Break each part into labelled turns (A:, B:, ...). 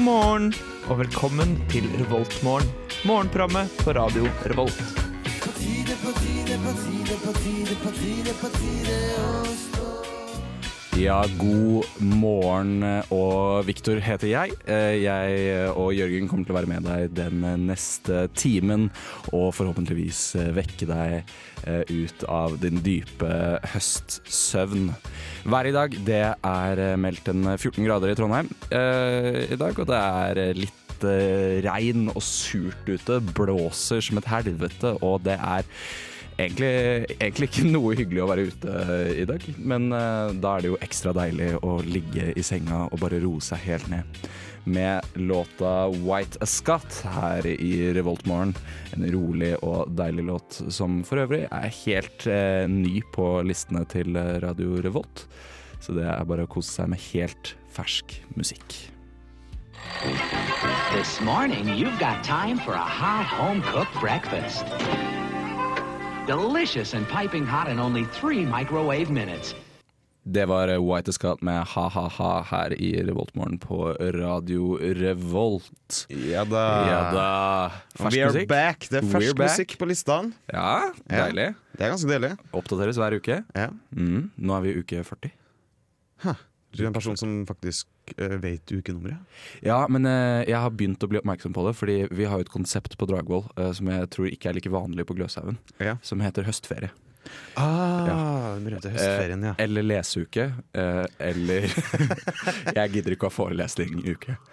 A: morgen og velkommen til Revoltmorgen. Morgenprogrammet på radio Revolt.
B: Ja, god morgen og Viktor heter jeg. Eh, Jeg og Jørgen kommer til å være med deg den neste timen og forhåpentligvis eh, vekke deg eh, ut av din dype høstsøvn. Været i dag, det er eh, meldt en 14 grader i Trondheim eh, i dag, og det er eh, litt eh, regn og surt ute, blåser som et helvete, og det er Egentlig, egentlig ikke noe hyggelig å være ute i dag, men eh, da er det jo ekstra deilig å ligge i senga og bare roe seg helt ned. Med låta 'White As Scott' her i Revoltmorgen. En rolig og deilig låt som for øvrig er helt eh, ny på listene til eh, Radio Revolt. Så det er bare å kose seg med helt fersk musikk.
C: This morning, you've got time for a hot home cooked breakfast. Delicious and piping hot in only three microwave minutes.
B: Det var eh, White Escat med ha-ha-ha her i Revoltmorgen på Radio Revolt.
D: Ja da.
B: Ja da. Fersk
D: We are
B: musikk.
D: back. Det er
B: We're
D: fersk
B: back.
D: musikk på listene.
B: Ja, deilig.
D: Det er ganske deilig.
B: Oppdateres hver uke.
D: Ja.
B: Mm. Nå er vi i uke 40.
D: Du er en person som faktisk eh, vet ukenummeret.
B: Ja, men eh, jeg har begynt å bli oppmerksom på det, fordi vi har jo et konsept på Dragvoll eh, som jeg tror ikke er like vanlig på Gløshaugen,
D: Ja.
B: som heter høstferie.
D: Ah, Den berømte høstferien, ja.
B: Eh, Eller leseuke. Eh, eller Jeg gidder ikke å ha forelesninguke. Um,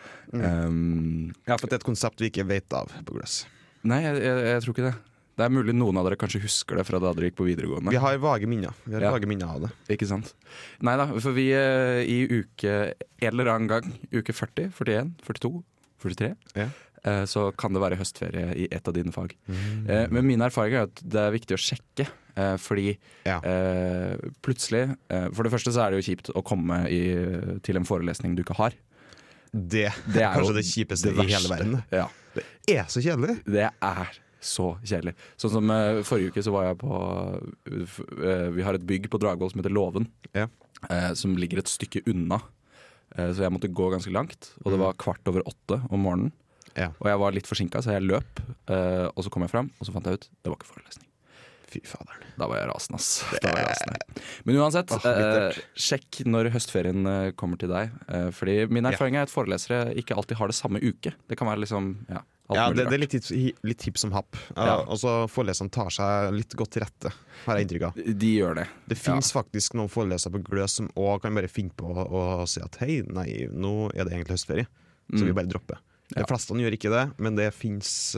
D: Mm. Ja, for det er et konsept vi ikke vet av på Gløss.
B: nei, jeg, jeg, jeg tror ikke det. Det er mulig noen av dere kanskje husker det fra da dere gikk på videregående.
D: Vi har vage minner. Vi har
B: Ja.
D: vage minner av det.
B: Ikke sant? Nei da, for vi eh, i uke en eller annen gang, uke 40, 41, 42, 43,
D: Ja.
B: eh, så kan det være høstferie i et av dine fag.
D: Mm.
B: Eh, Men min erfaring er at det er viktig å sjekke, eh, fordi
D: Ja.
B: eh, plutselig eh, For det første så er det jo kjipt å komme i, til en forelesning du ikke har.
D: Det,
B: Det
D: er
B: er jo
D: kanskje det kjipeste i hele
B: verste.
D: verden.
B: Ja.
D: Det er så kjedelig!
B: Det er så kjedelig. Sånn som eh, forrige uke så var jeg på eh, f- eh, Vi har et bygg på Dragvoll som heter Låven.
D: Ja.
B: eh, som ligger et stykke unna. Eh, så jeg måtte gå ganske langt, og
D: Mm.
B: det var kvart over åtte om morgenen.
D: Ja.
B: Og jeg var litt forsinka, så jeg løp, eh, og så kom jeg fram, og så fant jeg ut det var ikke forelesning.
D: Fy faderen.
B: Da var jeg rasende, ass. Da var jeg rasende. Men uansett,
D: Åh, bittert.
B: eh, sjekk når høstferien eh, kommer til deg. Eh, fordi min erfaring er at forelesere ikke alltid har det samme uke. Det kan være liksom ja, alt
D: Ja,
B: mulig
D: det,
B: rart.
D: det er litt hipp litt hipp som happ. Ja.
B: Ja.
D: Og så foreleserne tar seg litt godt til rette, har jeg inntrykk av.
B: De gjør det.
D: Det fins faktisk noen forelesere på Gløs som òg kan bare finne på å, å si at hei, nei, nå er det egentlig høstferie, så
B: Mm.
D: vi bare dropper. De fleste gjør ikke det, men det fins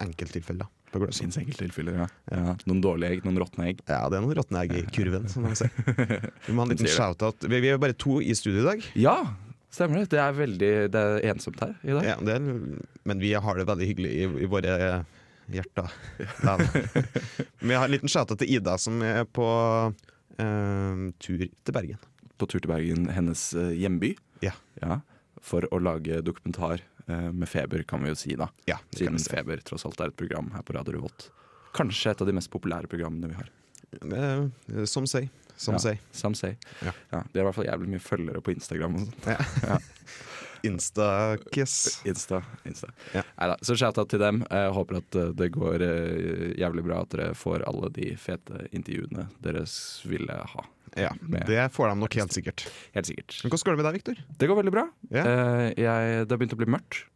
D: enkelttilfeller på Gløs.
B: Fins enkelttilfeller, ja. ja. Noen dårlige egg, noen råtne egg.
D: Ja, det er noen råtne egg i kurven, som de sier. Vi må ha en liten
B: Sier
D: shout-out. Vi, vi er bare to i studio i dag,
B: Ja, stemmer det. Det er veldig det er ensomt her i dag.
D: ja, det er, men vi har det veldig hyggelig i, i våre hjerter. Da. Vi har en liten shout-out til Ida, som er på eh, tur til Bergen.
B: på tur til Bergen, hennes eh, hjemby,
D: Ja.
B: ja, for å lage dokumentar eh, med Feber, kan vi jo si da.
D: Ja, det kan
B: Siden
D: vi si.
B: Feber tross alt er et program her på Radio Revolt. Kanskje et av de mest populære programmene vi har.
D: Eh, Som sier. Som
B: ja.
D: sier.
B: Some say.
D: Ja.
B: Ja. de har i hvert fall jævlig mye følgere på Instagram og sånt.
D: Instakiss.
B: Insta. Insta.
D: Ja.
B: Neida, så shout-out til dem. Jeg håper at eh, det går eh, jævlig bra, at dere får alle de fete intervjuene deres ville ha.
D: Ja,
B: Med-
D: det får de nok helt sikkert.
B: Helt sikkert.
D: Men hvordan går det med deg, Viktor?
B: Det går veldig bra.
D: Ja.
B: Eh, jeg, det har begynt å bli mørkt.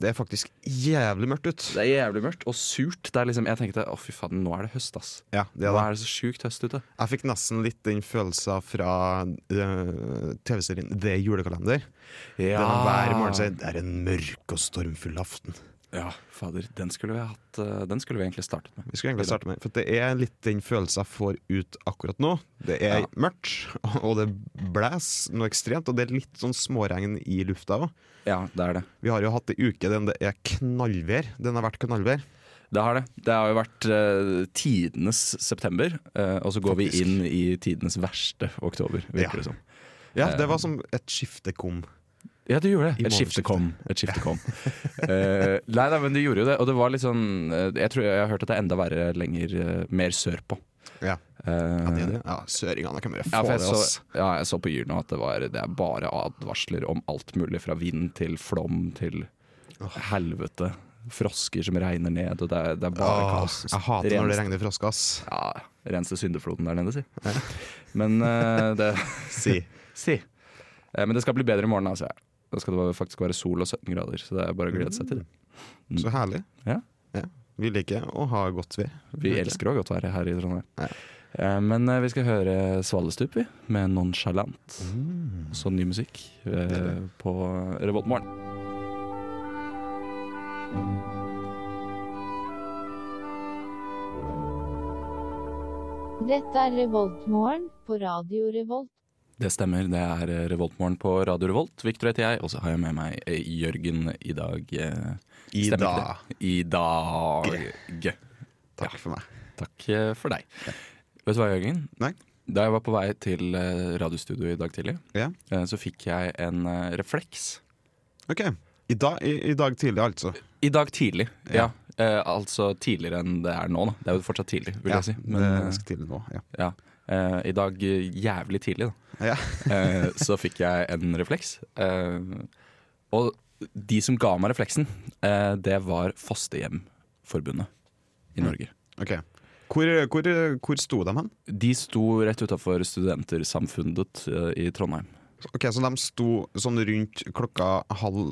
D: Det er faktisk jævlig mørkt ut.
B: Det er jævlig mørkt og surt. Det er liksom, jeg tenkte å fy faen, nå er det høst, ass.
D: Ja, det
B: Nå
D: er det.
B: er det så sjukt høst ute.
D: Jeg fikk nesten litt den følelsen fra eh, TV-serien Det er julekalender.
B: Ja.
D: Der man hver morgen sier det er en mørk og stormfull aften.
B: Ja, fader. Den skulle vi, hatt, eh, den skulle vi egentlig startet med.
D: Vi skulle egentlig starte med For det er litt den følelsen jeg får ut akkurat nå. Det er
B: Ja.
D: mørkt, og det blæs noe ekstremt. Og det er litt sånn småregn i lufta òg.
B: Ja, det er det.
D: Vi har jo hatt ei uke den det er knallvær. Den har vært knallvær.
B: Det har det. Det har jo vært eh, tidenes september, eh, og så går vi
D: Faktisk.
B: inn i tidenes verste oktober, virker
D: Ja.
B: det som.
D: Ja, det var som et skifte kom.
B: Ja, du gjorde
D: I
B: det. Et skifte
D: månedsskiftet.
B: kom. Et skifte kom. Eh, nei, nei, men du gjorde jo det. Og det var litt sånn eh, Jeg tror jeg har hørt at det er enda verre lenger eh, mer sørpå.
D: Ja.
B: Eh, Eh,
D: Ja, det er det. Ja, Søringene kan bare
B: ja,
D: få
B: for
D: det,
B: jeg
D: ass.
B: så, ja, jeg så på Yr nå at det, var, det er bare advarsler om alt mulig, fra vind til flom til helvete. Frosker som regner ned, og det er, det er bare
D: Åh,
B: kaos.
D: jeg hater når det
B: Rens-
D: regner frosk, ass.
B: Ja, rense syndefloden der nede, si. Men, eh, det,
D: Si.
B: si. Eh, men det skal bli bedre i morgen, altså. Da skal det faktisk være sol og 17 grader, så det er bare å glede seg til det.
D: Så herlig.
B: Ja.
D: Ja. Vi liker å ha godt vær.
B: Vi elsker òg godt være her i Trondheim.
D: Mm. Ja.
B: Eh, Men eh, vi skal høre Svalestup, vi, med 'Nonchalant'.
D: Mm.
B: Og så ny musikk eh, på Revoltmorgen.
E: Dette er Revoltmorgen på Radio Revolt.
B: Det stemmer, det er eh, Revoltmorgen på Radio Revolt. Victor heter jeg, og så har jeg med meg eh, Jørgen i dag. eh,
D: I
B: stemmer
D: dag.
B: ikke det? I dag.
D: Takk for meg.
B: Takk eh, for deg. Vet du hva, Jørgen?
D: Nei.
B: Da jeg var på vei til eh, radiostudio i dag tidlig,
D: Ja.
B: eh, så fikk jeg en eh, refleks.
D: OK. I dag, i, I dag tidlig, altså.
B: I dag tidlig, ja. Eh, altså tidligere enn det er nå, da. Det er jo fortsatt tidlig, vil jeg si. Men
D: det er
B: eh,
D: ganske tidlig nå. Ja.
B: ja. Eh, I dag eh, jævlig tidlig, da.
D: Ja.
B: Eh, så fikk jeg en refleks. Eh, og de som ga meg refleksen, eh, det var Fosterhjemforbundet
D: Mm.
B: i Norge.
D: OK. Hvor, hvor, hvor sto de hen?
B: De sto rett utafor Studentersamfunnet eh, i Trondheim.
D: Ok, Så de sto sånn rundt klokka halv,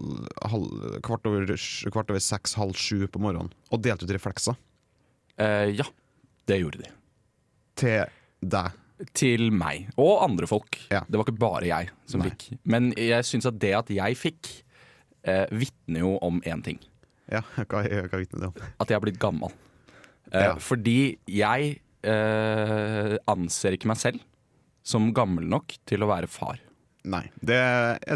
D: halv kvart, over, sj- kvart over seks, halv sju på morgenen og delte ut reflekser
B: Eh, ja, det gjorde de.
D: til deg.
B: Til meg. Og andre folk.
D: Ja.
B: Det var ikke bare jeg som
D: Nei.
B: fikk. Men jeg syns at det at jeg fikk, eh, vitner jo om én ting.
D: Ja, hva, hva vitner det om?
B: at jeg har blitt gammel. Eh,
D: Ja.
B: Fordi jeg eh, anser ikke meg selv som gammel nok til å være far.
D: Nei, det,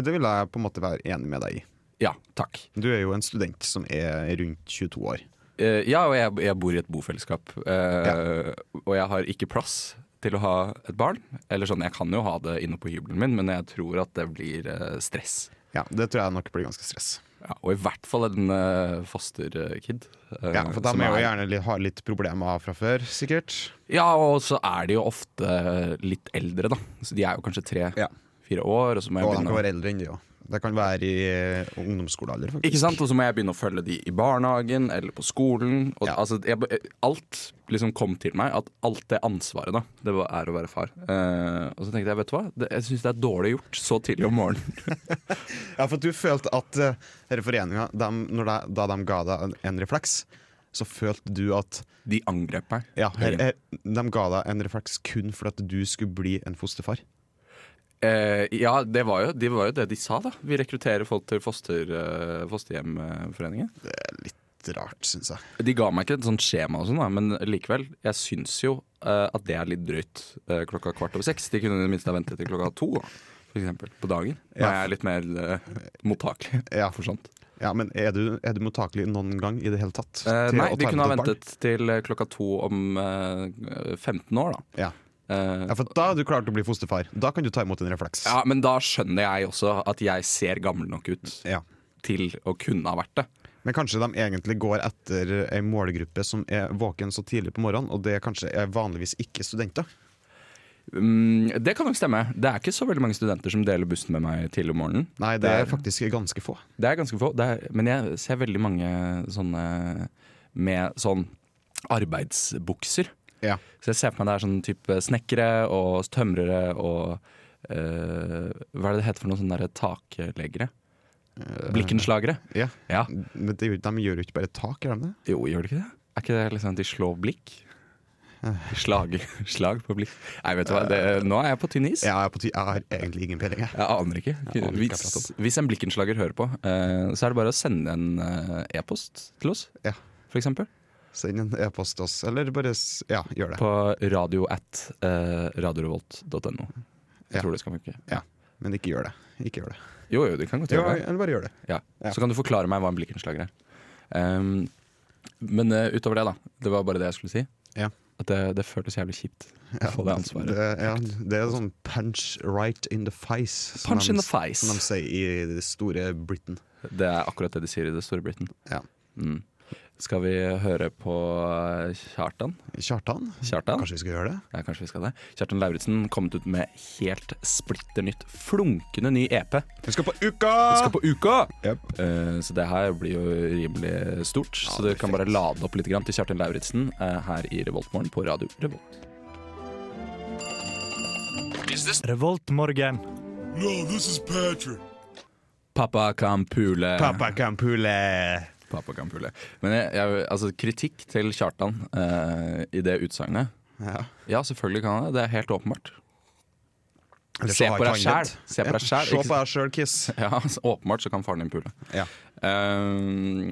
D: det vil jeg på en måte være enig med deg i.
B: Ja, takk.
D: Du er jo en student som er rundt 22 år.
B: Eh, ja, og jeg, jeg bor i et bofellesskap. Eh, Og jeg har ikke plass til å ha et barn. Eller sånn, jeg kan jo ha det inne på hybelen min, men jeg tror at det blir eh, stress.
D: Ja, Det tror jeg nok blir ganske stress.
B: Ja, og i hvert fall en eh, fosterkid. eh,
D: Ja, For de
B: som
D: er jo gjerne litt, har litt problemer fra før, sikkert.
B: Ja, og så er de jo ofte eh, litt eldre, da. Så de er jo kanskje tre-fire
D: Ja.
B: år. Og så må jeg
D: Og de
B: begynne
D: kan være eldre enn det òg. Det kan være i eh, ungdomsskolealder, faktisk.
B: Ikke sant? Og så må jeg begynne å følge de i barnehagen eller på skolen. Og,
D: Ja.
B: altså, jeg, alt liksom kom til meg, at alt det ansvaret da, det var, er å være far. Eh, og så tenkte jeg, vet du hva, det, jeg syns det er dårlig gjort så tidlig om morgenen.
D: Ja, for at du følte at eh, denne foreninga, dem- når de- da de ga deg en, en refleks, så følte du at
B: De angrep meg.
D: ja, her, her, de ga deg en refleks kun for at du skulle bli en fosterfar.
B: Eh, ja, det var, jo, det var jo det de sa, da. Vi rekrutterer folk til foster, eh, fosterhjemforeningen.
D: Det er Rart, syns jeg.
B: De ga meg ikke et sånt skjema, og sånn da, men likevel. Jeg syns jo eh, at det er litt drøyt eh, klokka kvart over seks. De kunne i det minste ha ventet til klokka to, da, for eksempel, på dagen. Da
D: Ja.
B: er jeg litt mer eh, mottakelig
D: Ja.
B: for sånt.
D: Ja, Men er du, er du mottakelig noen gang i det hele tatt?
B: Eh,
D: til
B: nei,
D: å
B: de
D: ta
B: kunne
D: imot
B: ha
D: et barn?
B: ventet til eh, klokka to om eh, 15 år, da.
D: Ja.
B: Eh,
D: ja, for da er du klar til å bli fosterfar. Da kan du ta imot en refleks.
B: ja, men da skjønner jeg også at jeg ser gammel nok ut
D: Ja.
B: til å kunne ha vært det.
D: Men kanskje de egentlig går etter ei målgruppe som er våken så tidlig på morgenen, og det kanskje er vanligvis ikke studenter.
B: Mm, det kan nok stemme. Det er ikke så veldig mange studenter som deler bussen med meg tidlig om morgenen.
D: Nei, det er faktisk ganske få.
B: Det er ganske få, det er, men jeg ser veldig mange sånne med sånn arbeidsbukser.
D: Ja.
B: Så jeg ser for meg det er sånn type snekkere og tømrere og eh, Hva er det det heter for noen sånne der takleggere? Eh. Blikkenslagere?
D: ja.
B: Ja.
D: Men det, gjør- de gjør jo ikke bare tak, gjør de det?
B: Jo, gjør det ikke det? Er ikke det liksom at de slår blikk? De Slager, slag på blikk Nei, vet du hva, det, nå er jeg på tynn is.
D: Jeg, er på ty jeg har egentlig ingen peiling, jeg.
B: Jeg aner ikke.
D: Jeg aner ikke hva jeg
B: Hvis,
D: prater
B: hvis en blikkenslager hører på, eh, så er det bare å sende en eh, e-post til oss,
D: Ja.
B: for eksempel.
D: Send en e-post til oss, eller bare s- Ja, gjør det.
B: På radio at eh, radiorevolt.no. Jeg
D: Ja.
B: tror det skal funke.
D: Ja. Men ikke gjør det. Ikke gjør det.
B: Jo, jo, det kan godt
D: Ja,
B: gjøre det.
D: eller bare gjør det.
B: Ja.
D: Ja.
B: Så kan du forklare meg hva en blikkenslager er. Ehm, men eh, utover det, da. Det var bare det jeg skulle si.
D: Ja.
B: At det, det føltes jævlig kjipt å få det ansvaret.
D: Det, ja, det er sånn punch right in the face. som
B: Punch in the
D: s-
B: face.
D: Som de sier i det store Britain.
B: Det er akkurat det de sier i The Store Britain.
D: Ja.
B: Skal vi høre på eh, Kjartan?
D: Kjartan?
B: Kjartan?
D: Kanskje vi skal gjøre det?
B: Ja, kanskje vi skal det. Kjartan Lauritzen kommet ut med helt splitter nytt, flunkende ny EP.
D: Vi skal på Uka!
B: Vi skal på Uka!
D: Jep.
B: Eh, Så det her blir jo rimelig stort, så
D: det
B: du
D: blir
B: kan bare
D: fett.
B: lade opp litt grann til Kjartan Lauritzen eh, her i Revoltmorgen på radio Revolt.
A: Revoltmorgen.
B: Pappa kan pule.
D: Pappa kan pule!
B: Pappa kan pule. Men jeg, jeg, altså, kritikk til Kjartan eh, i det utsagnet.
D: Ja.
B: Ja, selvfølgelig kan han det. Det er helt åpenbart.
D: Eller så
B: Se
D: har
B: på
D: ikke
B: deg
D: han rett.
B: selv. Se på deg selv,
D: Se
B: ikke
D: på deg sjæl, Kiss.
B: Ja, altså, Åpenbart så kan faren din pule.
D: Ja.
B: Eh,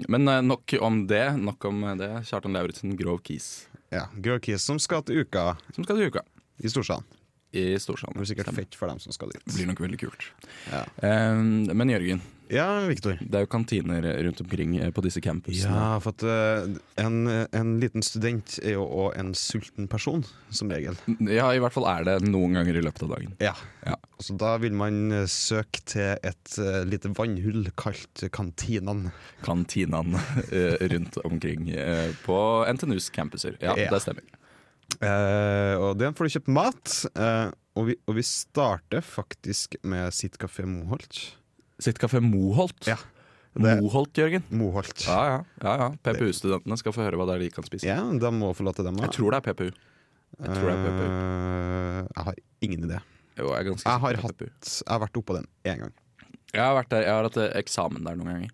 B: men eh, nok om det. Nok om det. Kjartan Lauritzen, Grov Kis,
D: ja. Girl Kiss som skal til Uka
B: som skal til uka
D: i Storsand.
B: i
D: Det blir
B: Storsand.
D: sikkert fett for dem som skal
B: Det
D: dit.
B: blir nok veldig kult.
D: Ja,
B: Eh, men Jørgen,
D: ja Viktor.
B: Det er jo kantiner rundt omkring eh, på disse campusene.
D: Ja, for at eh, en, en liten student er jo også en sulten person, som regel.
B: Ja. i hvert fall er det noen ganger i løpet av dagen.
D: Ja.
B: Ja.
D: Så da vil man eh, søke til et eh, lite vannhull kalt Kantinaen.
B: Kantinene eh, rundt omkring eh, på NTNUs campuser. Ja,
D: Ja.
B: det stemmer.
D: Eh, og der får du kjøpt mat. eh, og, vi, og vi starter faktisk med Sitt kafé Moholt.
B: Sitt kafé Moholt.
D: Ja, det-
B: Moholt, Jørgen.
D: Moholt.
B: Ja, ja. ja, ja. PPU-studentene skal få høre hva det er de kan spise.
D: Ja, da må jeg forlate dem, da.
B: Jeg tror det er PPU. Jeg tror det er PPU.
D: Eh, jeg har ingen idé.
B: Jo, jeg, er ganske
D: Jeg har,
B: sikker på
D: hatt,
B: PPU.
D: jeg har vært oppå den én gang.
B: Jeg har, vært der, jeg har hatt eh, eksamen der noen ganger.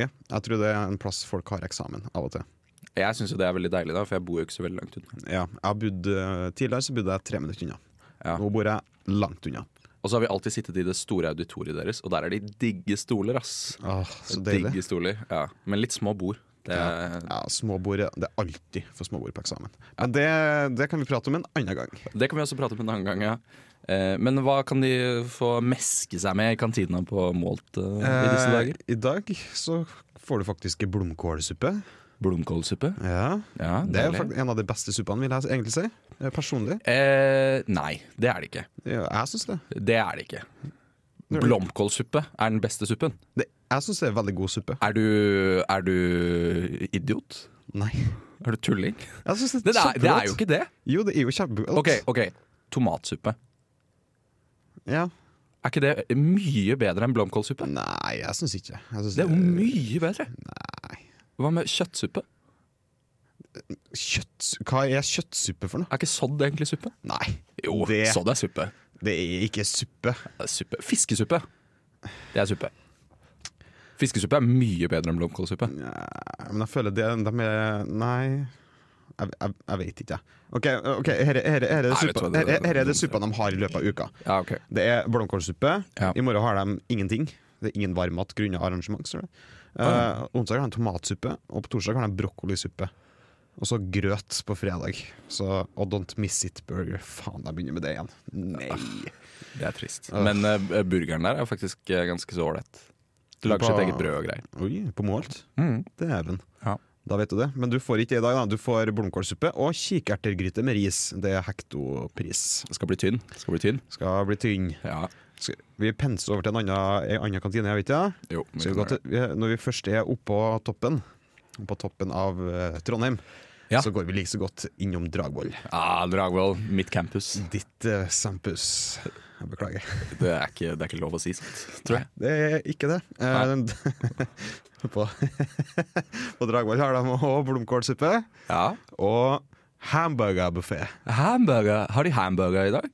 D: Ja, jeg tror det er en plass folk har eksamen av og til.
B: Jeg syns jo det er veldig deilig, da, for jeg bor jo ikke så veldig langt unna.
D: Ja, jeg har bodd, eh, tidligere så bodde jeg tre minutter unna.
B: Ja.
D: Nå bor jeg langt unna.
B: Og så har vi alltid sittet i det store auditoriet deres, og der er de digge stoler, ass.
D: Åh, så
B: Digge
D: deilig.
B: stoler, ja. Men litt små bord. Det,
D: Ja, småbord, Det er alltid for småbord på eksamen. Men det, det kan vi prate om en annen gang.
B: det kan vi også prate om en annen gang. Ja. Eh, men hva kan de få meske seg med i kantina på Målt eh, i disse dager?
D: Eh, I dag så får du faktisk blomkålsuppe.
B: Blomkålsuppe?
D: Ja,
B: Ja,
D: Det er jo
B: deilig.
D: fakt- en av de beste suppene, vil jeg egentlig si. Eh, Personlig.
B: Eh, nei, det er det ikke.
D: Ja, Jeg syns det.
B: Det er det ikke. Blomkålsuppe er den beste suppen.
D: det. Jeg syns det er veldig god suppe.
B: Er du, er du idiot?
D: Nei.
B: Er du tulling?
D: Jeg synes
B: Det,
D: det,
B: er, det er jo ikke det.
D: Jo, det er jo kjempegodt.
B: OK, ok, tomatsuppe.
D: Ja.
B: Er ikke det mye bedre enn blomkålsuppe?
D: Nei, jeg syns ikke jeg synes
B: Det er jo mye bedre.
D: Nei.
B: Hva med kjøttsuppe?
D: Kjøtt, hva er kjøttsuppe for noe?
B: Er ikke sodd egentlig suppe?
D: Nei,
B: Jo,
D: det,
B: sodd er suppe.
D: det er ikke suppe.
B: Det er suppe. Fiskesuppe. Det er suppe. Fiskesuppe er mye bedre enn blomkålsuppe.
D: Nei, Men jeg føler det de er Nei. Jeg, jeg, jeg vet ikke, jeg. OK, ok, her, er- her, er- her, er det
B: Nei, vet du
D: suppa-
B: hva,
D: her,
B: det-
D: er- her er det suppa de har i løpet av uka.
B: Ja, ok.
D: Det er blomkålsuppe.
B: Ja.
D: I morgen har de ingenting. Det er ingen varmmat grunnet arrangement. står det. Eh, onsdag har de tomatsuppe, og på torsdag har de brokkolisuppe. Og så grøt på fredag. Så Og don't miss it burger. Faen, jeg begynner med det igjen. Nei.
B: Det er trist. Men eh, burgeren der er faktisk eh, ganske så ålreit. Du lager
D: På-
B: sitt eget brød og greier.
D: Oi, på Målt? Dæven.
B: Ja.
D: Da vet du det. Men du får ikke det i dag. da Du får blomkålsuppe og kikertergryte med ris. Det er hektopris.
B: Skal bli tynn. Skal bli tynn.
D: Skal bli tynn.
B: Ja.
D: Skal vi pense over til en annen, en annen kantine, jeg vet ikke. Ja.
B: Jo,
D: Så vi går til, vi, når vi først er oppå toppen, på toppen av eh, Trondheim,
B: Ja.
D: så går vi like så godt innom Dragvoll.
B: Ah, Dragvoll, mitt campus.
D: Ditt eh, sampus. Jeg beklager.
B: Det er, ikke, det er ikke lov å si sånt, tror jeg.
D: Det er ikke det. Eh, på, på Dragvoll har de òg blomkålsuppe
B: Ja.
D: og hamburgerbuffé.
B: Hamburger. Har de hamburger i dag?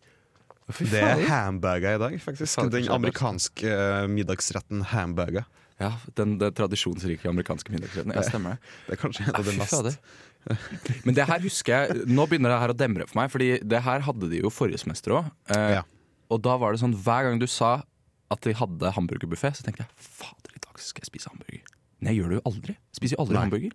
B: Fy
D: Det er
B: faen.
D: hamburger i dag, faktisk.
B: Faen,
D: Den
B: kanskje det er
D: amerikanske eh, middagsretten hamburger.
B: Ja, den, den tradisjonsrike amerikanske middagsretten. Ja, stemmer det.
D: Det er kanskje en av
B: Nei,
D: de
B: fy
D: mest
B: fader. Men det her husker jeg Nå begynner det her å demre for meg, Fordi det her hadde de jo forrige semester òg.
D: Ja.
B: Og da var det sånn hver gang du sa at de hadde hamburgerbuffé, så tenkte jeg fader, i dag skal jeg spise hamburger. Men jeg gjør det jo aldri. Jeg spiser jo aldri
D: Nei.
B: hamburger.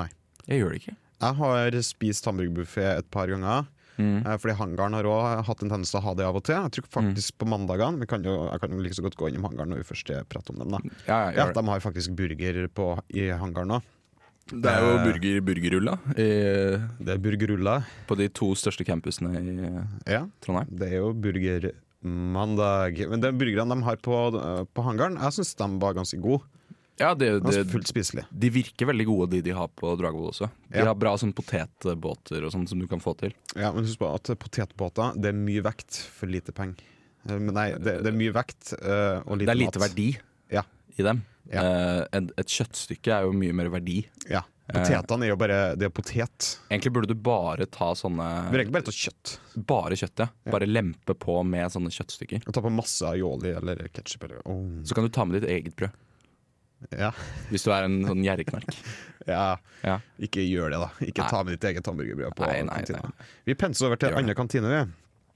D: Nei.
B: Jeg gjør det ikke.
D: Jeg har spist hamburgerbuffé et par ganger.
B: Mm.
D: eh, Fordi hangaren har også hatt en tendens til å ha det av og til. Jeg tror faktisk på mandagene Vi kan jo, Jeg kan jo like så godt gå innom hangaren når vi først prater om dem. da
B: Ja, jeg
D: ja,
B: Mm, gjør det.
D: De har faktisk burger på, i hangaren òg.
B: det er jo burger, burgerrulla eh,
D: Det er burgerruller.
B: på de to største campusene i eh,
D: Ja,
B: Trondheim.
D: det er jo burgermandag. Men de burgerne de har på, eh, på hangaren, jeg syns de var ganske gode.
B: Ja, det,
D: Den
B: det,
D: er fullt spiselig.
B: de virker veldig gode, de de har på Dragvoll også. De
D: Ja.
B: har bra sånn potetbåter og sånn som du kan få til.
D: Ja, men husk på at potetbåter det er mye vekt for lite penger. Eh, Men nei, det, det er mye vekt eh, og lite
B: det er lite
D: mat.
B: verdi
D: Ja.
B: i dem.
D: Ja.
B: Eh, en, et kjøttstykke er jo mye mer verdi.
D: Ja.
B: Eh.
D: Potetene er jo bare Det er potet.
B: Egentlig burde du bare ta
D: Vi
B: sånne
D: rekker bare ta kjøtt.
B: Bare kjøtt, ja. Bare lempe på med sånne kjøttstykker.
D: Og ta på masse aioli eller ketsjup eller oh.
B: Så kan du ta med ditt eget brød,
D: ja.
B: hvis du er en sånn gjerrigknark.
D: ja.
B: Ja.
D: Ikke gjør det, da. Ikke
B: Nei.
D: ta med ditt eget hamburgerbrød på
B: Nei, nei,
D: kantina. Vi penser over til
B: Gjør det.
D: andre kantine, vi.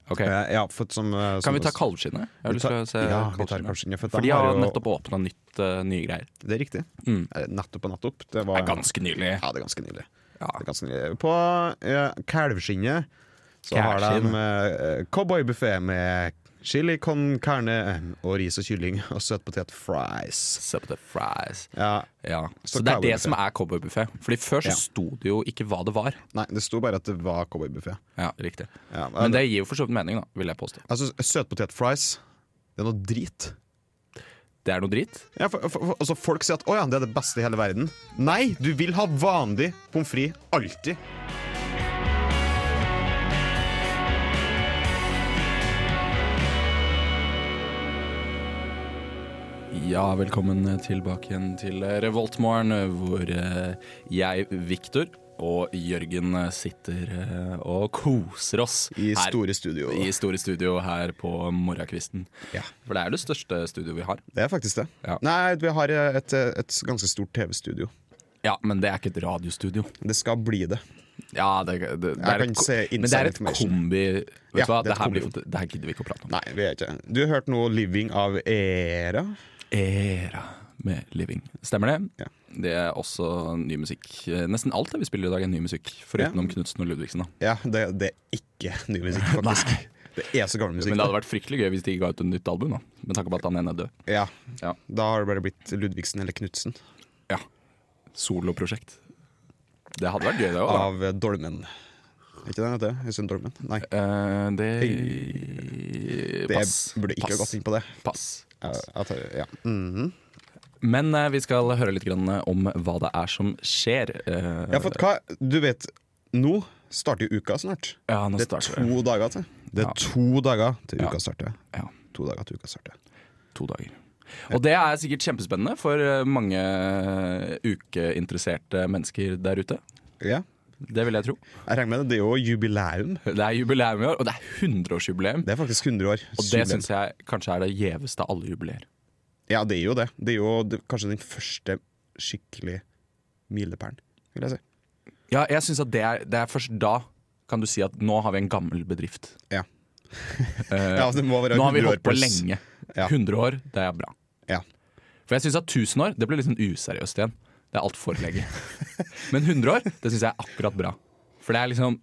B: Ok.
D: Eh, Ja, for, som, eh, som-
B: Kan vi ta kalvskinnet? Jeg har
D: Vi
B: lyst til
D: tar-
B: å se
D: ja, vi tar
B: kalvskinnet.
D: kalvskinnet. For,
B: For
D: de
B: de har jo
D: jo
B: nettopp åpna nytt, eh, nye greier.
D: Det er riktig.
B: Mm.
D: Eh, Nettopp og nettopp. Det
B: Det
D: var
B: er ganske nylig.
D: Ja, det er ganske nydelig.
B: Ja.
D: Det er ganske nydelig. På eh, kalvskinnet så har
B: Kalvskinn.
D: de eh, cowboybuffé med chili con carne eh, og ris og kylling og søtpotet fries.
B: Se på the fries.
D: Ja,
B: Ja.
D: Så
B: Så det er det
D: cowboybuffet.
B: som er cowboybuffé. Fordi før så
D: Ja.
B: sto det jo ikke hva det var.
D: Nei, det sto bare at det var cowboybuffé.
B: Ja, riktig.
D: Ja,
B: Men det gir jo for så vidt mening, da, vil jeg påstå.
D: Altså, søtpotet fries, det er noe drit.
B: Det er noe dritt.
D: Ja, for, for, for, altså, folk sier at å ja, det er det beste i hele verden. Nei, du vil ha vanlig pommes frites alltid.
B: Ja, velkommen tilbake igjen til Revoltmorgen, hvor eh, jeg, Viktor og Jørgen sitter eh, og koser oss
D: I
B: her-
D: store studio.
B: i store studio her på morgenkvisten.
D: Ja.
B: For det er det største studioet vi har.
D: Det er faktisk det.
B: Ja.
D: Nei, vi har eh, et, eh, et ganske stort TV-studio.
B: Ja, men det er ikke et radiostudio.
D: Det skal bli det.
B: Ja, det, det, det
D: Jeg
B: er
D: kan
B: et, ko-
D: se
B: men det
D: inside
B: er et
D: information.
B: kombi Vet du
D: Ja,
B: hva,
D: det er
B: det,
D: et
B: her blir,
D: kombi.
B: for- det her gidder vi ikke å prate om.
D: Nei, vi er ikke Du har hørt noe 'Living av Era'?
B: Era med Living. Stemmer det?
D: Ja.
B: Det er også ny musikk. Eh, Nesten alt det vi spiller i dag, er ny musikk. Foruten
D: Ja.
B: om Knutsen og Ludvigsen, da.
D: Ja, det, det er ikke ny musikk, faktisk. Det er så gammel musikk.
B: Men det hadde vært fryktelig gøy hvis de ga ut et nytt album, da. Med tanke på at han ene er død.
D: Ja,
B: Ja.
D: Da har det bare blitt Ludvigsen eller Knutsen
B: ja. Soloprosjekt. Det hadde vært gøy, det òg.
D: av eh, Dolmen. Er ikke det den heter? Øystein Dolmen? Nei.
B: Eh, det
D: Det
B: Eh, Pass.
D: burde ikke
B: Pass.
D: ha gått inn på det.
B: Pass.
D: Ja,
B: Pass. Mm.
D: jeg tar, ja. Mhm.
B: Men eh, vi skal høre litt grann eh, om hva det er som skjer. Eh,
D: ja, for hva Du vet, nå starter jo uka snart.
B: ja, nå
D: Det er
B: starter
D: to dager til. Det
B: Ja.
D: er to dager til
B: Ja.
D: uka starter.
B: Ja.
D: To dager til uka starter.
B: to dager. Og det er sikkert kjempespennende for eh, mange eh, ukeinteresserte mennesker der ute.
D: Ja.
B: Det vil jeg tro.
D: Jeg regner med det. Det er jo jubileum.
B: Det er jubileum i år, og det er 100-årsjubileum.
D: Det er faktisk 100 år.
B: Og det syns jeg kanskje er det gjeveste av alle jubileer.
D: Ja, det er jo det. Det er jo det, kanskje den første skikkelig milepælen, vil jeg si.
B: Ja, jeg synes at det er, det er først da kan du si at nå har vi en gammel bedrift.
D: Ja.
B: Eh,
D: Ja, altså, det må være
B: nå har vi
D: 100 år
B: holdt på
D: pluss.
B: lenge.
D: Ja.
B: 100 år, det er bra.
D: Ja.
B: For jeg syns at 1000 år det blir litt sånn useriøst igjen. Det er altfor lenge. Men 100 år det syns jeg er akkurat bra. For det er liksom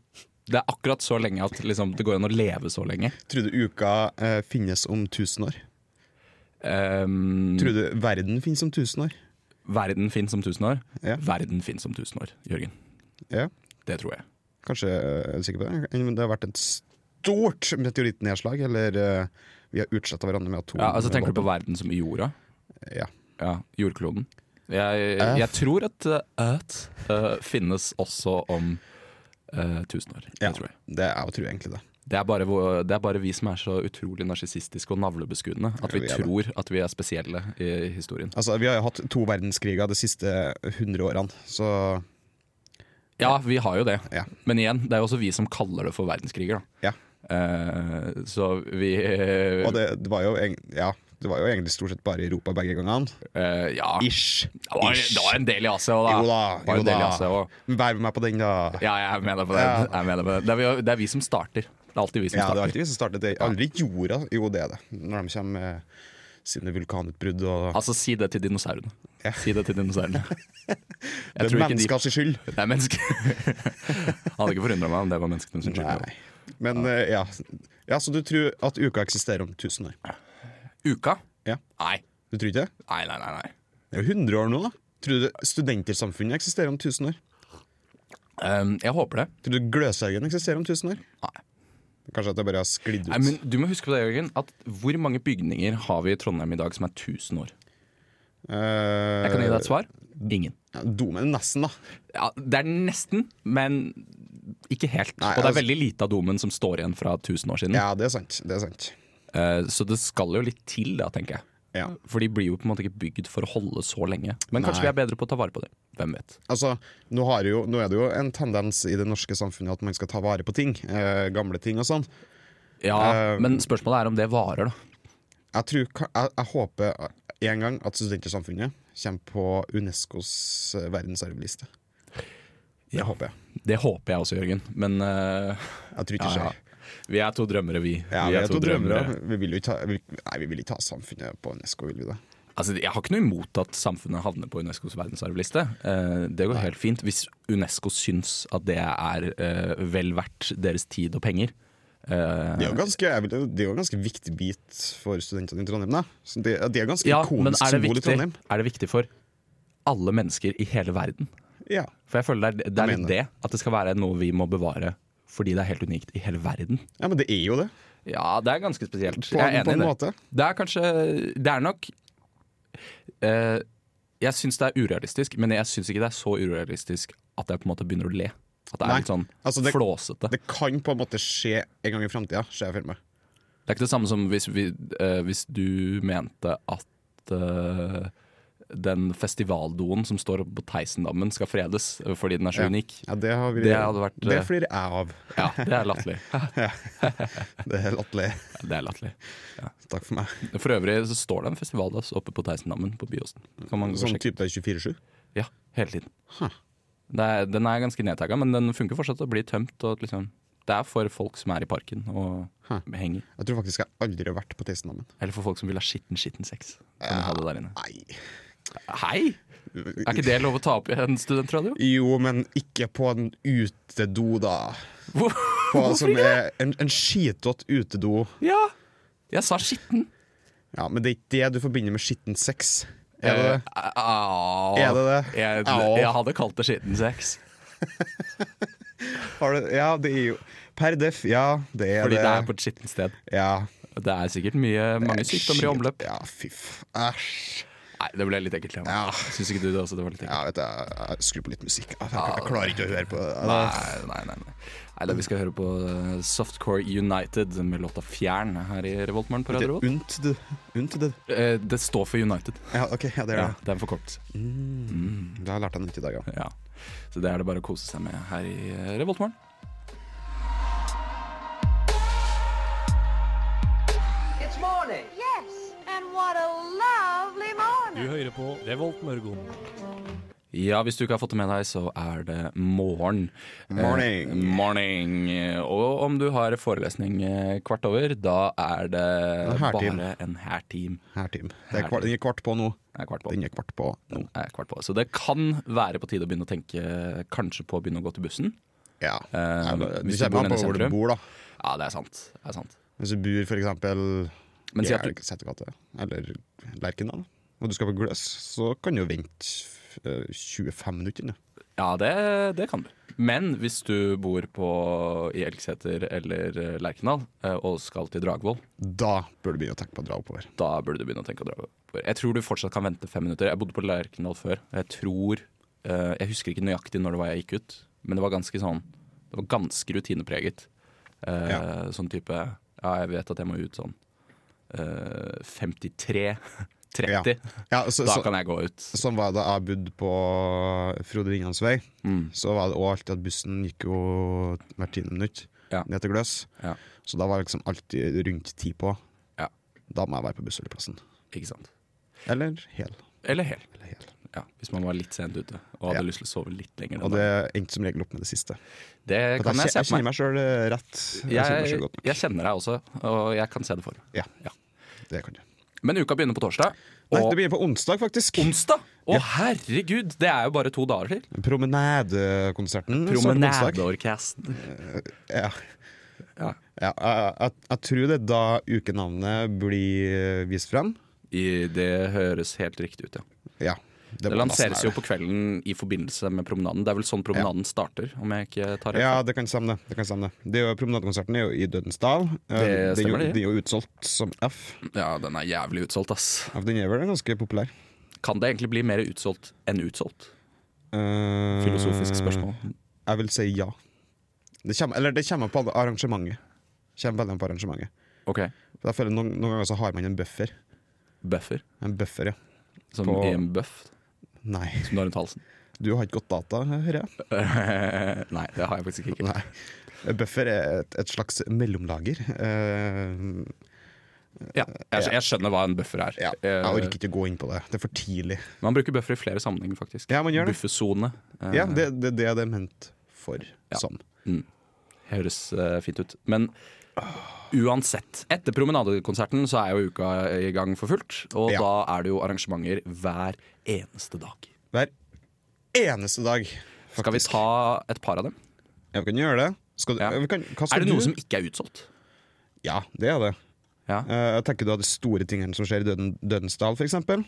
B: Det er akkurat så lenge at liksom, det går an å leve så lenge.
D: Tror du uka eh, finnes om 1000 år?
B: Ehm,
D: Tror du verden finnes om 1000 år?
B: verden fins om 1000 år.
D: Ja.
B: Verden fins om 1000 år, Jørgen.
D: Ja,
B: Det tror jeg.
D: kanskje eh, er du sikker på det? Men det har vært et stort meteorittnedslag, eller eh, vi har utsletta hverandre med atom...
B: Ja, altså Tenker du på verden som i jorda?
D: Ja.
B: Ja, jordkloden. Jeg, jeg tror at uh, Earth uh, finnes også om uh, 1000 år.
D: Ja,
B: Det tror jeg.
D: det er jo tror jeg egentlig det.
B: Det er, bare, hvor- det er bare vi som er så utrolig narsissistiske og navlebeskuende at vi,
D: Ja, vi er det.
B: tror at vi er spesielle i historien.
D: Altså, Vi har jo hatt to verdenskriger de siste 100 årene, så
B: Ja, vi har jo det.
D: Ja.
B: Men igjen, det er jo også vi som kaller det for verdenskriger. Da.
D: ja.
B: Eh, så vi
D: Og det, det, var jo, egen- ja, det var jo egentlig stort sett bare i Europa begge gangene.
B: eh, Ja.
D: Ish.
B: Det var, det var en del i Asia òg, da.
D: Jo da,
B: Det var
D: jo
B: en del i
D: da.
B: Asia også.
D: Vær med meg på den, da.
B: Ja, jeg er med deg på det.
D: Ja.
B: Jeg er med deg på det. Det, er vi, det er vi som starter. Det er alltid vi som
D: Ja, det
B: starter.
D: var alltid vi som startet det. Aldri jorda. Jo, det er det. Når de kommer med sine vulkanutbrudd og
B: Altså, si det til dinosaurene. Si det til dinosaurene.
D: Det er
B: tror ikke de-
D: menneskers skyld.
B: Det er mennesker. Hadde ikke forundra meg om det var menneskene sin skyld.
D: Nei. Men eh, ja. ja. Så du tror at uka eksisterer om 1000 år?
B: Uka?
D: Ja.
B: Nei.
D: Du tror ikke det?
B: Nei, nei, nei. nei.
D: Det er jo 100 år nå, da. Tror du studentersamfunnet eksisterer om 1000 år?
B: Ehm, jeg håper det.
D: Tror du Gløshaugen eksisterer om 1000 år?
B: Nei.
D: Kanskje at det bare har sklidd ut?
B: nei men du må huske på det, Jørgen, at hvor mange bygninger har vi i Trondheim i dag som er 1000 år?
D: Eh,
B: Jeg kan gi deg et svar. Ingen.
D: ja, Domen nesten, da.
B: Ja, det er nesten, men ikke helt.
D: Nei,
B: og det er
D: altså-
B: veldig lite av domen som står igjen fra 1000 år siden.
D: Ja, det er sant. Det er sant.
B: Eh, så det skal jo litt til, da, tenker jeg.
D: Ja.
B: For de blir jo på en måte ikke bygd for å holde så lenge. Men kanskje
D: Nei.
B: vi er bedre på å ta vare på dem. Hvem vet.
D: Altså, nå, har jo, nå er det jo en tendens i det norske samfunnet at man skal ta vare på ting. Eh, gamle ting og sånn.
B: Ja,
D: Eh,
B: Men spørsmålet er om det varer, da.
D: Jeg, tror, ka- jeg, jeg håper en gang at Studentersamfunnet kommer på Unescos eh, verdensarvliste. Det
B: Ja.
D: håper jeg.
B: Det håper jeg også, Jørgen. Men eh,
D: Jeg tror ikke
B: ja,
D: det
B: ja.
D: skjer.
B: vi er to drømmere, vi.
D: Ja, vi er to drømmere. Vi vil jo ikke ta, vi, nei, vi vil ikke ha samfunnet på Unesco, vil vi det?
B: Altså, jeg har ikke noe imot at samfunnet havner på Unescos verdensarvliste. Eh, det går helt fint hvis Unesco syns at det er eh, vel verdt deres tid og penger. Eh,
D: Det er jo ganske, jeg vil, det er jo en ganske viktig bit for studentene i Trondheim. Da. Så Det, det er ganske
B: ja, men
D: ikonisk
B: er det,
D: symbol i
B: viktig,
D: Trondheim.
B: er det viktig for alle mennesker i hele verden?
D: Ja.
B: For jeg føler det er, det er litt
D: mener
B: det. At det skal være noe vi må bevare fordi det er helt unikt i hele verden.
D: ja, men det er jo det.
B: Ja, det er ganske spesielt.
D: På,
B: jeg er
D: på
B: enig
D: en
B: i det.
D: måte.
B: Det er kanskje Det er nok eh, Jeg syns det er urealistisk, men jeg syns ikke det er så urealistisk at jeg på en måte begynner å le. At det er
D: Nei,
B: litt sånn
D: altså det-
B: flåsete. Det,
D: Det kan på en måte skje en gang i framtida, ser jeg for meg.
B: er ikke det samme som hvis, vi, eh, hvis du mente at eh, den festivaldoen som står oppe på Theisendammen skal fredes eh, fordi den er så
D: Ja.
B: unik.
D: Ja, det, har vi,
B: Det hadde vært,
D: Det
B: eh,
D: flirer jeg av.
B: Ja, det er latterlig.
D: Det er latterlig.
B: Det er latterlig.
D: Takk for meg.
B: For øvrig så står det en festivaldass oppe på Theisendammen på Byåsen. Kan man gå og
D: Sånn
B: sjekke.
D: type 24-7.
B: Ja, hele tiden.
D: Huh.
B: Det er, den er ganske nedtagga, men den funker fortsatt og blir tømt. Og at liksom, det er for folk som er i parken og
D: Hæ.
B: henger.
D: Jeg tror faktisk jeg aldri har vært på Teisenhammen.
B: Eller for folk som vil ha skitten, skitten sex. Kan de ha det der inne.
D: Nei.
B: Hei! Er ikke det lov å ta opp i en studentradio?
D: Jo, men ikke på en utedo, da.
B: Hvor?
D: På, som er en, en skitete utedo.
B: Ja! Jeg sa skitten.
D: Ja, Men det er ikke det du forbinder med skitten sex. Er det det?
B: Eh, au.
D: Er det det?
B: Jeg,
D: Au.
B: jeg hadde kalt det skitten sex.
D: Har du, ja, det er jo Per def, ja, det er
B: Eh, Fordi
D: det.
B: det er på et skittent sted.
D: ja,
B: Det er sikkert mye, mange sykdommer i
D: Shit.
B: omløp.
D: Ja, fy f... Æsj.
B: Nei, det ble litt ekkelt. Ja.
D: Ja.
B: Syns ikke du det også? Det var litt ekkelt.
D: Ja, vet du, jeg, jeg skrur på litt musikk. Ah, Jeg, jeg, jeg klarer ikke å høre på det.
B: Ah, Nei, nei, nei. nei. nei da, vi skal høre på eh, Softcore United med låta Fjern her i Revoltmorgen på
D: Det
B: Radio
D: er
B: Revolt.
D: unt, du. Unt, du.
B: Eh, Det står for United.
D: Ja, ok, ja, det er
B: Ja,
D: det.
B: det er en forkortelse.
D: Det har jeg lært deg nytt i dag, ja.
B: Ja. Så det er det bare å kose seg med her i eh, Revoltmorgen.
F: It's morning.
G: Yes, and what a lovely morning.
H: Du hører på Revolt Mørgon.
B: Ja, hvis du ikke har fått det med deg, så er det morgen. Eh,
D: Morning.
B: morning. Og om du har forelesning eh, kvart over, da er det
D: En hertim.
B: bare en hærteam.
D: Her, Tim. Det er kvart, den er kvart på nå.
B: Det er kvart på.
D: Den er kvart på nå.
B: Det er kvart på. Så det kan være på tide å begynne å tenke kanskje på å begynne å gå til bussen.
D: Ja.
B: Eh,
D: det
B: hvis du bor
D: kommer an
B: nede
D: på
B: i
D: hvor du
B: sentrum.
D: bor, da.
B: Ja, det er sant. Det er sant.
D: Hvis du bor for eksempel
B: Men
D: i
B: si at du,
D: Setergata eller Lerkendal, og du skal på Gløs, så kan du jo vente eh, 25 minutter. nå.
B: ja, det, det kan du. Men hvis du bor på, i Elgseter eller eh, Lerkendal eh, og skal til Dragvoll,
D: Da bør du begynne å tenke på å dra oppover.
B: da burde du begynne å tenke å dra oppover. Jeg tror du fortsatt kan vente fem minutter. Jeg bodde på Lerkendal før. og Jeg tror eh, Jeg husker ikke nøyaktig når det var jeg gikk ut, men det var ganske sånn Det var ganske rutinepreget. Eh,
D: Ja.
B: Sånn type Ja, jeg vet at jeg må ut sånn eh, 53 30.
D: Ja. Ja, så,
B: Da
D: så,
B: kan jeg gå ut.
D: Sånn var det da jeg bodde på Frode Ringans vei.
B: Mm,
D: Så var det også alltid at bussen gikk jo hvert tiende minutt
B: Ja.
D: ned til Gløs.
B: Ja.
D: Så da var det liksom alltid rundt ti på.
B: Ja.
D: Da må jeg være på bussholdeplassen.
B: Ikke sant.
D: Eller hel.
B: Eller hel.
D: Eller hel.
B: Ja, hvis man var litt sent ute og hadde
D: Ja.
B: lyst til å sove litt lenger. den
D: Og det
B: dagen.
D: endte som regel opp med det siste.
B: det
D: For
B: kan jeg
D: kje-
B: se
D: jeg
B: for meg.
D: kjenner meg sjøl rett. Jeg, kjenner meg
B: Jeg,
D: selv godt.
B: jeg kjenner deg også, og jeg kan se det for meg.
D: Ja.
B: Ja.
D: Det kan du.
B: Men uka begynner på torsdag.
D: Nei,
B: Og
D: det begynner på onsdag, faktisk.
B: onsdag! Å, herregud! Det er jo bare to dager til.
D: Promenadekonserten. starter på onsdag.
B: Promenadeorkest.
D: Ja.
B: Ja.
D: Ja, jeg, jeg, jeg tror det er da ukenavnet blir vist frem.
B: I- Det høres helt riktig ut, ja.
D: Ja.
B: Det
D: må nesten
B: lanseres jo
D: være det. sånn
B: på kvelden i forbindelse med promenaden. Det er vel sånn promenaden starter, om jeg ikke tar helt
D: Ja,
B: feil.
D: det kan stemme. det, det kan stemme. det. det er jo, promenadekonserten er jo i Dødens Dal. Eh,
B: Det
D: den er jo,
B: stemmer det.
D: den er jo utsolgt som F.
B: Ja, den er jævlig utsolgt, ass.
D: Ja, Den er vel ganske populær.
B: Kan det egentlig bli mer utsolgt enn utsolgt?
D: Eh,
B: Filosofisk spørsmål.
D: Jeg vil si ja. Det kommer, eller det kommer på arrangementet. Kommer veldig an på arrangementet.
B: Ok,
D: For jeg føler noen, noen ganger så har man en buffer.
B: Buffer.
D: En buffer, ja.
B: Som
D: På-
B: i en bøff
D: Nei,
B: som du har rundt halsen.
D: du har ikke godt data, hører jeg.
B: Nei, det har jeg faktisk ikke.
D: Nei. En Buffer er et, et slags mellomlager. Eh,
B: Ja, jeg, jeg skjønner hva en buffer er.
D: ja. Jeg
B: Eh,
D: orker ikke gå inn på det. Det er for tidlig.
B: Man bruker buffer i flere sammenhenger, faktisk.
D: Ja, man gjør det.
B: Buffersone. eh,
D: Ja, det, det, det er det ment for.
B: Ja.
D: Sånn.
B: Høres eh, fint ut. Men uansett. Etter promenadekonserten så er jo uka i gang for fullt. Og
D: Ja.
B: da er det jo arrangementer hver eneste dag.
D: Hver eneste dag.
B: Skal vi
D: faktisk.
B: ta et par av dem?
D: Ja, vi kan gjøre det. Skal du,
B: Ja.
D: vi kan, hva skal
B: Er det noe
D: du?
B: som ikke er utsolgt?
D: Ja, det er det.
B: Ja.
D: Eh, jeg tenker du hadde store tingene som skjer i Døden, Dødens dal, for eksempel.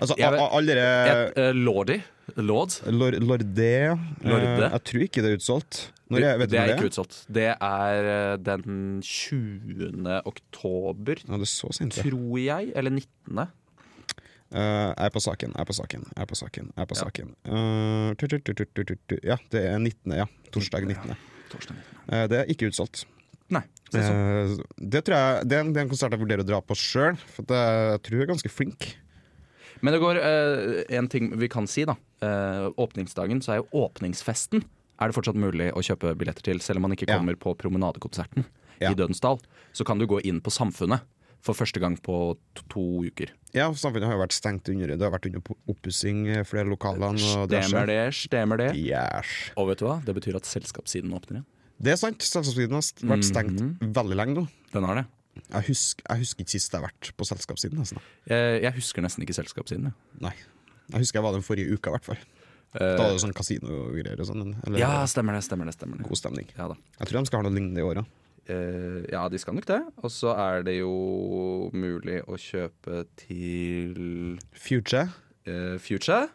D: Altså,
B: Jeg
D: a-
B: vet-
D: a- alle
B: Et,
D: dere
B: eh, Lordi. Lord.
D: Lor- Lorde eh,
B: Lorde?
D: Jeg tror ikke det er utsolgt. Når
B: Det,
D: jeg, vet du
B: det
D: når
B: er
D: det
B: ikke utsolgt. Det er eh, den 20. oktober,
D: Ja, det er så sint. ja.
B: tror jeg. Eller 19.
D: Eh, jeg er på saken, jeg er på saken, jeg er på saken. Jeg er på
B: Ja.
D: saken. Eh, tu, tu, tu, tu, tu, tu, tu. ja, det er 19. Ja. Torsdag 19.
B: Torsdag.
D: Eh, det er ikke utsolgt.
B: Nei. Se sånn.
D: Eh, det, tror jeg, det, er en, det er en konsert jeg vurderer å dra på sjøl, for at jeg, jeg tror jeg er ganske flink.
B: Men det går eh, en ting vi kan si, da. Eh, åpningsdagen så er jo åpningsfesten er det fortsatt mulig å kjøpe billetter til, selv om man ikke
D: Ja.
B: kommer på promenadekonserten
D: Ja.
B: i Dødensdal. Så kan du gå inn på Samfunnet for første gang på to, to uker.
D: Ja, Samfunnet har jo vært stengt under Det har vært under oppussing eh, flere lokalene. Og
B: Stemmer det, stemmer det.
D: Yes.
B: Og vet du hva? Det betyr at selskapssiden åpner igjen.
D: Det er sant. Selskapssiden har st- vært stengt
B: Mhm.
D: veldig lenge nå.
B: Den har det.
D: Jeg husker, jeg husker ikke sist jeg har vært på selskapssiden. Nesten.
B: Jeg, jeg husker nesten ikke selskapssiden. jeg.
D: Nei. Jeg husker jeg var den forrige uka, i hvert fall. Da var det sånn kasinogreier og sånn. Eller
B: Eh. Ja, stemmer det, stemmer det. stemmer det.
D: god stemning.
B: Ja da.
D: Jeg tror de skal ha noe lignende i åra.
B: Eh, ja, de skal nok det. Og så er det jo mulig å kjøpe til
D: Future.
B: Eh, Future.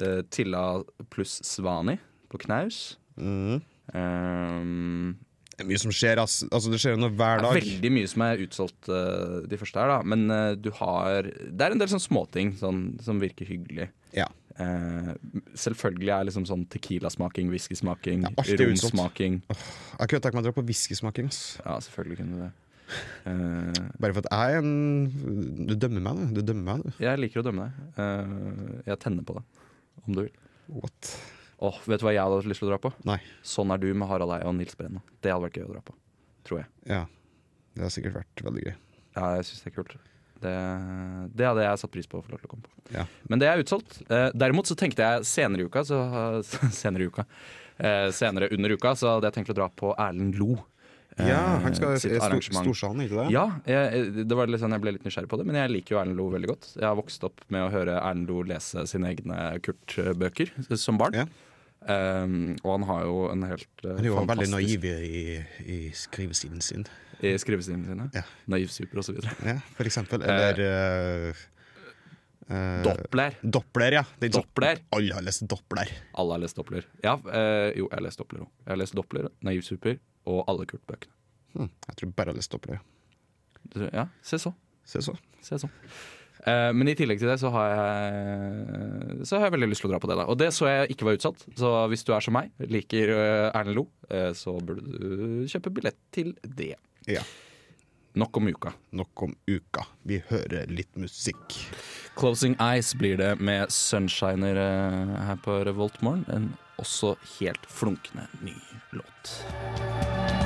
B: eh, Tilla pluss Svani på knaus. Eh,
D: Det Mm. er mye som skjer, ass. Altså, det skjer jo noe hver
B: det
D: dag.
B: er veldig mye som er utsolgt eh, de første her, da. Men eh, du har Det er en del sånn småting sånn, som virker hyggelig.
D: Ja.
B: Eh, selvfølgelig er liksom sånn tequila-smaking, whisky-smaking,
D: Ja, alt er utsolgt.
B: rom-smaking.
D: Jeg kunne tenkt meg å dra på whiskysmaking. ass.
B: Ja, selvfølgelig kunne du det. Eh,
D: Bare for at jeg er en Du dømmer meg, du. Du dømmer meg,
B: jeg liker å dømme deg. Eh, jeg tenner på det, om du vil.
D: du. What?
B: Åh, vet du hva jeg hadde hatt lyst til å dra på?
D: Nei.
B: Sånn er du med Harald Eia og Nils Brenna. Det hadde vært gøy å dra på. Tror jeg.
D: Ja. Det har sikkert vært veldig gøy.
B: Ja, jeg syns det er kult. Det, det hadde jeg satt pris på å få lov til å komme på.
D: Ja.
B: Men det er utsolgt. Eh, derimot så tenkte jeg senere i uka, så, senere, i uka eh, senere under uka, så hadde jeg tenkt å dra på Erlend Lo. eh,
D: Ja, han skal
B: sitt
D: i stor,
B: arrangement.
D: Storsalen, ikke det?
B: Ja, jeg, det var litt sånn, jeg ble litt nysgjerrig på det, men jeg liker jo Erlend Lo veldig godt. Jeg har vokst opp med å høre Erlend Lo lese sine egne Kurt-bøker eh, som barn.
D: Ja.
B: Eh, og han har jo en helt eh,
D: Han er jo veldig
B: fantastisk
D: naiv i, i skrivestilen sin.
B: i skrivestilene sine.
D: Ja.
B: Naiv super og så videre.
D: Ja, for eksempel. Eller eh, eh,
B: Doppler.
D: Doppler, ja. Den som-
B: Doppler.
D: Alle har lest Doppler.
B: Alle har lest Doppler. Ja, eh, jo, jeg har lest Doppler òg. Jeg har lest Doppler, Naiv Super og alle Kurt-bøkene.
D: Hm, jeg tror bare jeg har lest Doppler. ja.
B: Du- Ja, se så.
D: Se så.
B: Se så. Eh, men i tillegg til det så har, jeg, så har jeg veldig lyst til å dra på det. da Og det så jeg ikke var utsatt. Så hvis du er som meg, liker eh, Erlend Lo, eh, så burde du kjøpe billett til det.
D: Ja.
B: Nok om uka.
D: Nok om uka. Vi hører litt musikk.
B: Closing Eyes blir det med Sunshiner eh, her på Revolt Morgen. En også helt flunkende ny låt.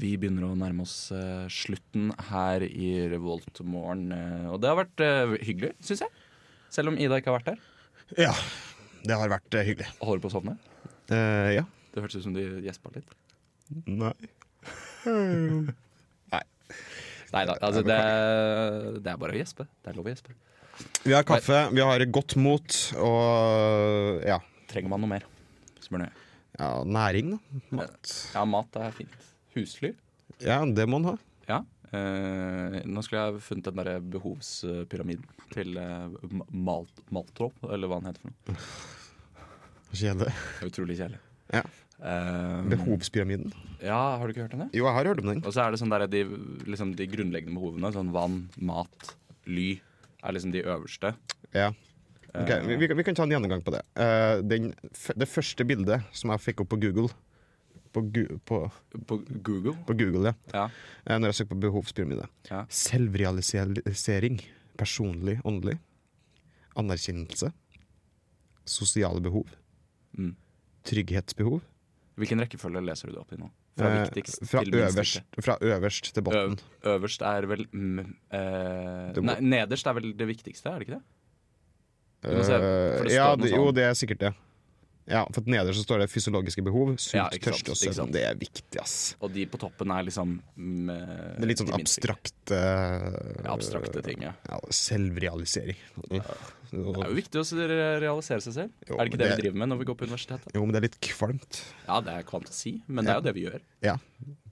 B: Vi begynner å nærme oss eh, slutten her i Revolt Morgen. eh, og det har vært eh, hyggelig, syns jeg. Selv om Ida ikke har vært her.
D: Ja. Det har vært eh, hyggelig.
B: Og holder på å sovne.
D: Eh, ja.
B: Det hørtes ut som du gjespa litt.
D: Nei.
B: Nei da, altså det, det er bare å gjespe. Det er lov å gjespe.
D: Vi har kaffe, vi har godt mot og ja.
B: Trenger man noe mer? Spør jeg.
D: ja næring, da. Mat.
B: Ja, mat er fint. Husly?
D: Ja, det må en ha.
B: Ja. Eh, nå skulle jeg funnet den derre behovspyramiden til eh, Ma- Malt, Maltrop, eller hva den heter for noe.
D: Kjede.
B: Det er utrolig kjedelig.
D: Ja.
B: Eh,
D: Behovspyramiden.
B: Ja, har du ikke hørt om det?
D: Jo, jeg har hørt om den.
B: Og så er det sånn der de, liksom de grunnleggende behovene, sånn vann, mat, ly, er liksom de øverste.
D: Ja. Ok, vi, vi, kan- vi kan ta en gjennomgang på det. Eh, den, f det første bildet som jeg fikk opp på Google På, gu, på,
B: På Google?
D: på Google, ja.
B: Ja.
D: Eh, Når jeg søker på behovspyramide.
B: Ja.
D: Selvrealisering. Personlig, åndelig. Anerkjennelse. Sosiale behov.
B: Mm.
D: Trygghetsbehov.
B: Hvilken rekkefølge leser du det opp i nå? Fra
D: Eh,
B: viktigst
D: fra,
B: til minst
D: øverst,
B: viktig.
D: fra øverst til
B: Øv,
D: bunnen.
B: øverst er vel mm, eh,
D: Du må-
B: Nei, nederst er vel det viktigste, er det ikke det? Du må se, for det
D: Eh, ja,
B: står noe
D: det, jo,
B: sånn.
D: det er sikkert det. Ja, for at Nederst så står det fysiologiske behov. Sult,
B: Ja, ikke sant,
D: tørste og
B: ikke sant.
D: søvn. Det er viktig, ass.
B: Og de på toppen er liksom mm, eh,
D: Det er litt sånn
B: de minst viktige.
D: abstrakte
B: Abstrakte ting, ja.
D: ja, Selvrealisering.
B: Det er jo viktig å s- realisere seg selv.
D: Jo,
B: er det ikke det,
D: men det-
B: vi driver med når vi går på universitetet?
D: Jo, men det er litt kvalmt,
B: Ja, det er kvantasi, men det er jo det vi gjør.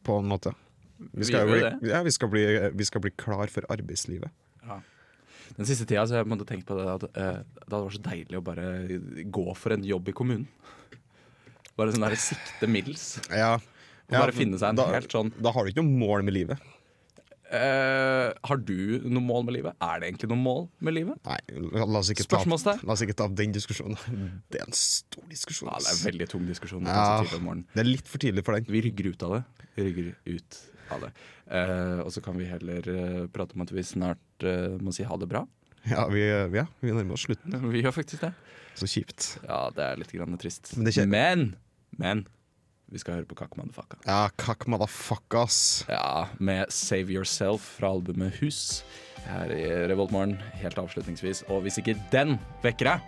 D: på en måte. Vi
B: Vi
D: skal,
B: gjør
D: jo
B: jo
D: bli, ja, vi, skal bli, vi skal bli klar for arbeidslivet.
B: Den siste tida så har jeg på en måte tenkt på det at eh, det hadde vært så deilig å bare gå for en jobb i kommunen. Bare sånn der sikte middels.
D: Ja,
B: Og bare finne seg en helt sånn
D: Da har du ikke noe mål med livet.
B: eh, Har du noe mål med livet? Er det egentlig noe mål med livet?
D: Nei, la oss ikke ta,
B: Spørsmålstegn?
D: la oss ikke ta opp den diskusjonen. Det er en stor diskusjon.
B: Ja, det er en
D: ass.
B: veldig tung diskusjon.
D: Ja,
B: altså, tidlig om morgenen.
D: det er litt for tidlig for den.
B: Vi rygger ut av det. Vi rygger ut av det. Eh, og så kan vi heller eh, prate om at vi snart eh, må si ha det bra.
D: Ja, vi, ja, vi nærmer oss slutten.
B: Vi gjør faktisk det.
D: Så kjipt.
B: Ja, det er litt grann trist.
D: Men det skjer-
B: men, men vi skal høre på Kakmanfaka.
D: Ja, kakk motherfucka, ass.
B: Ja, med Save Yourself fra albumet Hus her i Revoltmorgen, helt avslutningsvis. Og hvis ikke den vekker deg,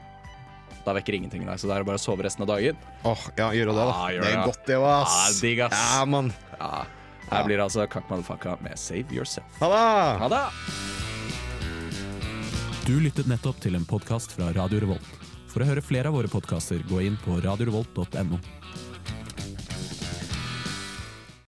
B: da vekker ingenting deg. Så det er bare å sove resten av dagen.
D: Åh, ja, gjør det da.
B: Ah, gjør
D: det er
B: det.
D: godt, det, også, ass.
B: Ah, digg, ass.
D: Ja, mann.
B: Ja. Her blir det altså Kakk Motherfucka med Save Yourself.
D: Ha det!
B: Ha det!
I: Du lyttet nettopp til en podkast fra Radio Revolt. For å høre flere av våre podkaster, gå inn på radiorevolt.no.